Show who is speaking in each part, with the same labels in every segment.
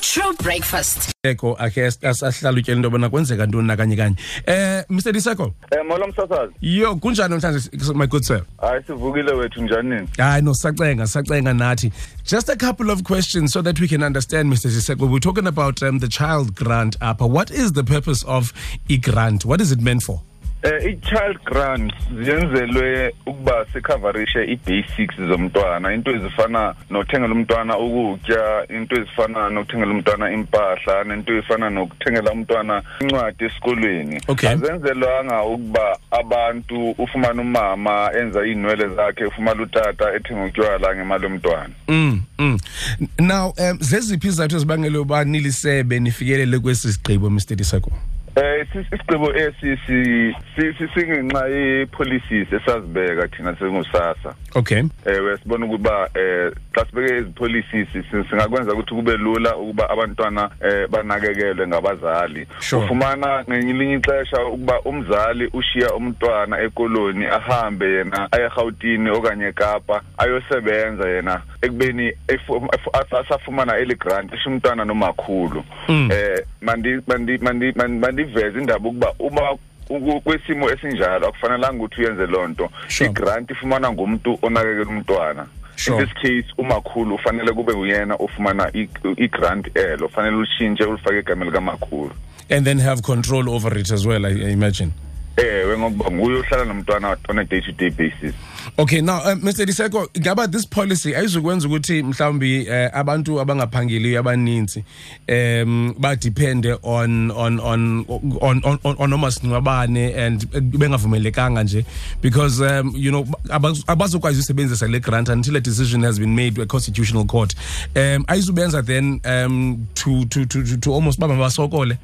Speaker 1: True breakfast.
Speaker 2: eko akhe as- as- asihlala utyela into yobana kwenzeka ntoni nakanye kanye um mr diseko
Speaker 3: Eh molo msasazi.
Speaker 2: yo kunjani namhlanje s- my good sir
Speaker 3: Hayi sivukile wethu njanini.
Speaker 2: hayi no sacenga sacenga nathi just a couple of questions so that we can understand mr diseko we're talking about um, the child grant apha what is the purpose of i-grant what is it meant for
Speaker 3: Eh i-child grant ziyenzelwe ukuba sikhoverishe i-basics zomntwana, into ezifana nokuthengela umntwana ukutya, into ezifana nokuthengela umntwana impahla, nento efana nokuthengela umntwana incwadi esikolweni.
Speaker 2: Okay.
Speaker 3: Azenzelwanga ukuba abantu ufumana umama enza iinwele zakhe, ufumana utata ethenga utywala ngemali yomntwana.
Speaker 2: Mm, mm. N- now um zeziphi izathu ezibangela uba nilisebe nifikelele kwesi sigqibo mr diseko
Speaker 3: Eh sis- isigqibo esi si- si- si- singenxa ye policies esazibeka thina sengusasa
Speaker 2: okay
Speaker 3: eh wesibona ukuba eh xa sibeke ezi policies si- singakwenza ukuthi kube lula ukuba abantwana eh banakekelwe ngabazali
Speaker 2: Sure.
Speaker 3: ufumana ngelinye ixesha ukuba umzali ushiya umntwana ekoloni ahambe yena aye eGauteng okanye eKapa ayosebenza yena ekubeni efu- efu- asa- asafumana eli grant esho umntwana nomakhulu
Speaker 2: Mm.
Speaker 3: eh mandi mandi mandi mandi- mandiveze indaba ukuba uma uku- kwisimo esinjalo akufanelanga ukuthi uyenze lonto
Speaker 2: Sure.
Speaker 3: grant ifumana ngumuntu onakekela umntwana
Speaker 2: Sure.
Speaker 3: in this case umakhulu ufanele kube uyena ofumana i- i-grant elo ufanele ulishintshe ulifake igama likamakhulu
Speaker 2: and then have control over it as well i, I imagine
Speaker 3: ewe ngokuba nguye ohlala Eh, nomntwana on a day to day basis
Speaker 2: okay now um, mr diseko ngaba this policy ayizukwenza ukuthi mhlawumbi eh, abantu abangaphangeliyo abaninzi um badepende on on on on on- on- on omasingcwabane and eh, bengavumelekanga nje because um you know abaz- abazokwazi usebenzisa le grant until a decision has been made by constitutional court um ayizubenza then um to to to to, to almost baba basokole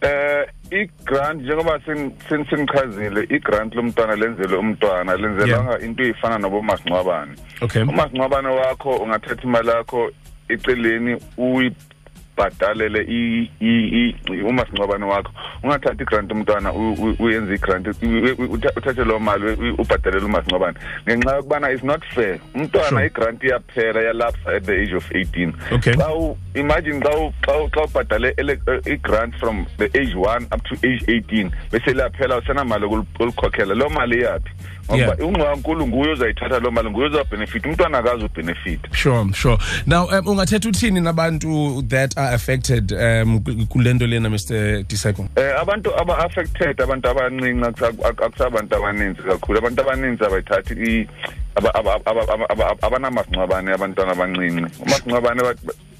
Speaker 3: eh i-grant njengoba sin- sin- sinichazile i-grant lomntwana lenzelwe umntwana lenzelwanga into efana nobomasingcwabane
Speaker 2: okay
Speaker 3: umasingcwabane wakho ungathatha imali yakho eceleni uyibhadalele i- i- i- umasingcwabane wakho ungathathi igrant umntwana u- u- uyenze igrant uthathe loo mali u- ubhadalele umasingcwabane ngenxa yokubana is not fair
Speaker 2: Sure.
Speaker 3: umntwana igrant iyaphela iyalapsa at the age of 18
Speaker 2: Okay.
Speaker 3: xa u- imagine xa u- xa u- xa ubhadale ele- eh, i-grant from the age 1 up to age 18 bese liyaphela usenamali okul- olikhokhela loo mali iyaphi
Speaker 2: Yeah.
Speaker 3: ngoba ungqankulu nguye ozayithatha loo mali nguye ozawubhenefitha umntwana akazi ubhenefitha
Speaker 2: sure sure now um ungathetha uthini nabantu that are affected um ku- kule nto lena mr diseko
Speaker 3: um abantu aba-affected abantu abancinci akusa- ak- akusabantu abaninzi kakhulu abantu abaninzi abayithathi i- aba- aba- aba- aba- aba- abanamasingcwabane abantwana abancinci umasingcwabane ba-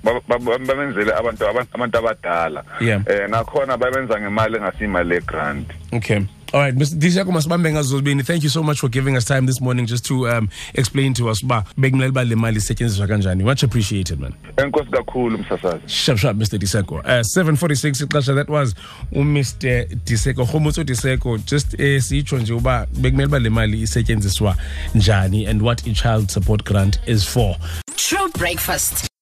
Speaker 3: ba- ba- ba- babenzele abantu aba- abantu abadala
Speaker 2: Yeah.
Speaker 3: um nakhona babenza ngemali engasiyimali yegrant
Speaker 2: okay all right mr diseko masibambe ngazozibini thank you so much for giving us time this morning just to um explain to us uba bekumele uba le mali isetyenziswa kanjani much appreciated man
Speaker 3: enkosi kakhulu msasazi
Speaker 2: sharp sharp mr diseko uh, 746 ixesha that was umr diseko rhomotso diseko just eh, sitsho nje uba bekumele uba le mali isetyenziswa njani and what i-child support grant is for
Speaker 1: True breakfast.